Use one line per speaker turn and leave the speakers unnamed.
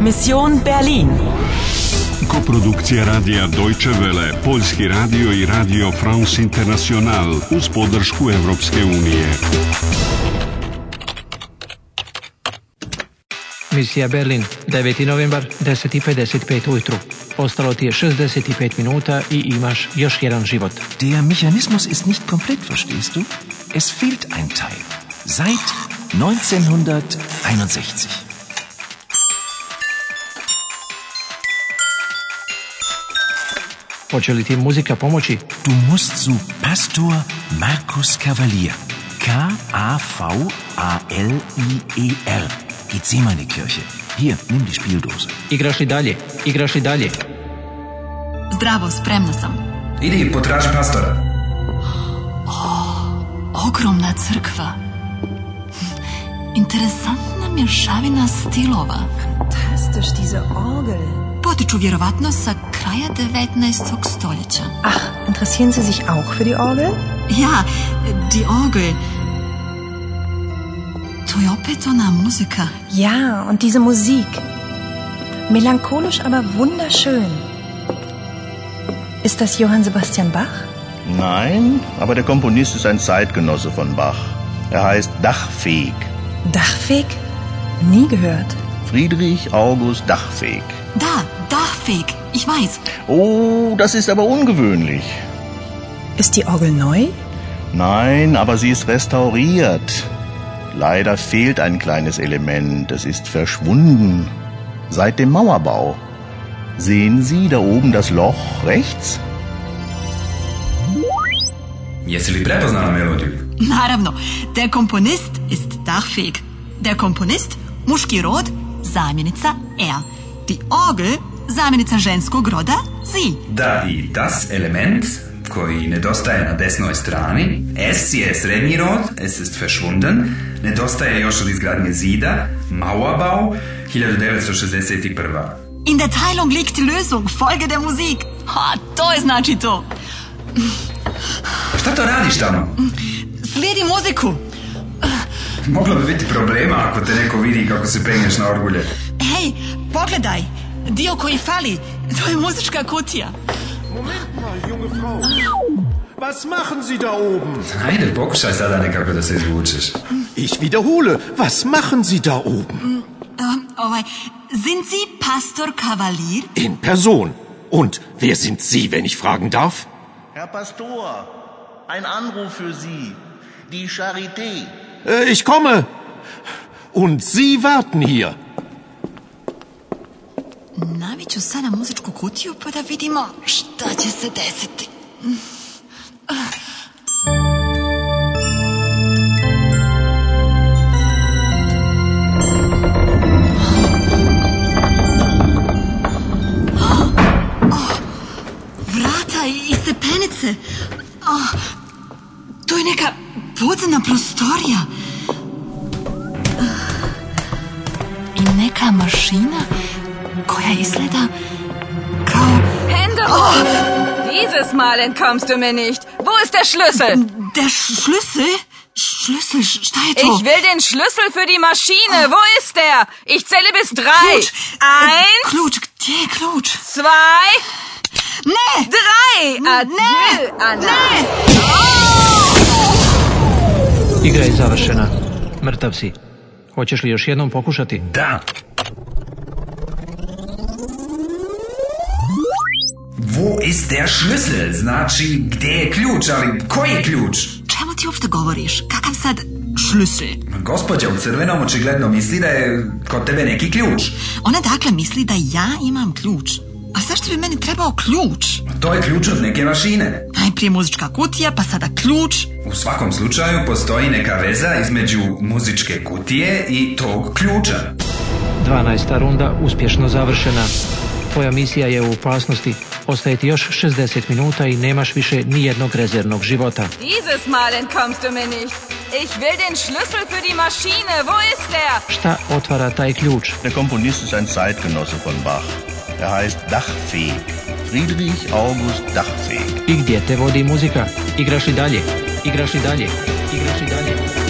Mission Berlin.
Koprodukcija radija Deutsche Welle, Poljski radio i radio France International uz podršku Europske unije.
Misija Berlin, 9. novembar, 10.55 ujutru. Ostalo ti je 65 minuta i imaš još jedan život.
Der Mechanismus ist nicht komplett, verstehst du? Es fehlt ein Teil. Seit 1961.
Hoće li ti muzika pomoći?
Du musst zu Pastor Markus Kavalier. K-A-V-A-L-I-E-R. Gethsemane-Kirche. Hier, nimm die Spieldose.
Igraš li dalje? Igraš li dalje?
Zdravo, spremna sam.
Idi, potraži pastora.
Ogromna crkva. Interesantna mješavina stilova.
Fantastisch, diese Orgel.
Potiču vjerovatno sa kraja 19. stoljeća.
Ach, interessieren Sie sich auch für die Orgel?
Ja, die Orgel. To je opet ona muzika.
Ja, und diese Musik. Melancholisch, aber wunderschön. Ist das Johann Sebastian Bach?
Nein, aber der Komponist ist ein Zeitgenosse von Bach. Er heißt Dachfeg.
Dachfeg? Nie gehört.
Friedrich August Dachfeg.
Da, Dachweg, ich weiß.
Oh, das ist aber ungewöhnlich.
Ist die Orgel neu?
Nein, aber sie ist restauriert. Leider fehlt ein kleines Element. Es ist verschwunden. Seit dem Mauerbau. Sehen Sie da oben das Loch rechts?
Jesi li prepoznala melodiju?
Naravno, der Komponist ist Dachfeg. Der Komponist, muški rod, zamjenica er. Die Orgel, zamjenica ženskog roda, sie.
Da, i das element koji nedostaje na desnoj strani. S je srednji rod, S ist verschwunden. Nedostaje još od izgradnje zida, Mauerbau, 1961.
In der Teilung liegt die Lösung, folge der Musik. Ha, to je znači to.
Pa Šta to radiš tamo?
Slijedi muziku.
Moglo bi biti problema ako te neko vidi kako se penješ na orgulje.
Hej, pogledaj, dio koji fali, to je muzička kutija.
Junge Frau, was machen Sie da oben?
Ajde, pokušaj sada nekako da se izvučeš.
Ich wiederhole, was machen Sie da oben?
Um, ovaj, sind Sie Pastor Kavalier?
In Person. Und wer sind Sie, wenn ich fragen darf?
Herr Pastor, ein Anruf für Sie. Die Charité.
Äh, ich komme. Und Sie warten hier.
Navit ću sad na muzičku kutiju pa da vidimo šta će se desiti. Vrata i i stepenice. Oh, to je neka podzemna prostorija. I neka mašina koja izgleda kao
Hände hoch! Dieses Mal entkommst du mir nicht. Wo ist der Schlüssel?
der Schlüssel. Schlüssel, šta je to?
Ich will den Schlüssel für die Maschine. Wo ist der? Ich zähle bis drei.
Ključ.
Eins,
Ključ, gdje je ključ?
zwei,
Ne!
drei. Adieu, Anna.
Igra je završena. Mrtav si. Hoćeš li još jednom pokušati?
Da. Wo ist der Schlüssel? Znači, gdje je ključ, ali koji je ključ?
Čemu ti uopšte govoriš? Kakav sad šlusel?
Gospođa u crvenom očigledno misli da je kod tebe neki ključ.
Ona dakle misli da ja imam ključ. A zašto bi meni trebao ključ?
To je ključ od neke mašine.
Najprije muzička kutija, pa sada ključ.
U svakom slučaju postoji neka veza između muzičke kutije i tog ključa.
12. runda uspješno završena. Tvoja misija je u opasnosti. Ostaje ti još 60 minuta i nemaš više ni jednog rezervnog života.
Dieses Mal entkommst du mir nicht. Ich will den Schlüssel für die Maschine. Wo ist der?
Šta otvara taj ključ?
Der Komponist ist ein Zeitgenosse von Bach. Er heißt Dachfeg. Friedrich August Dachfeg.
I gdje te vodi muzika? Igraš li dalje? Igraš li dalje? Igraš li dalje?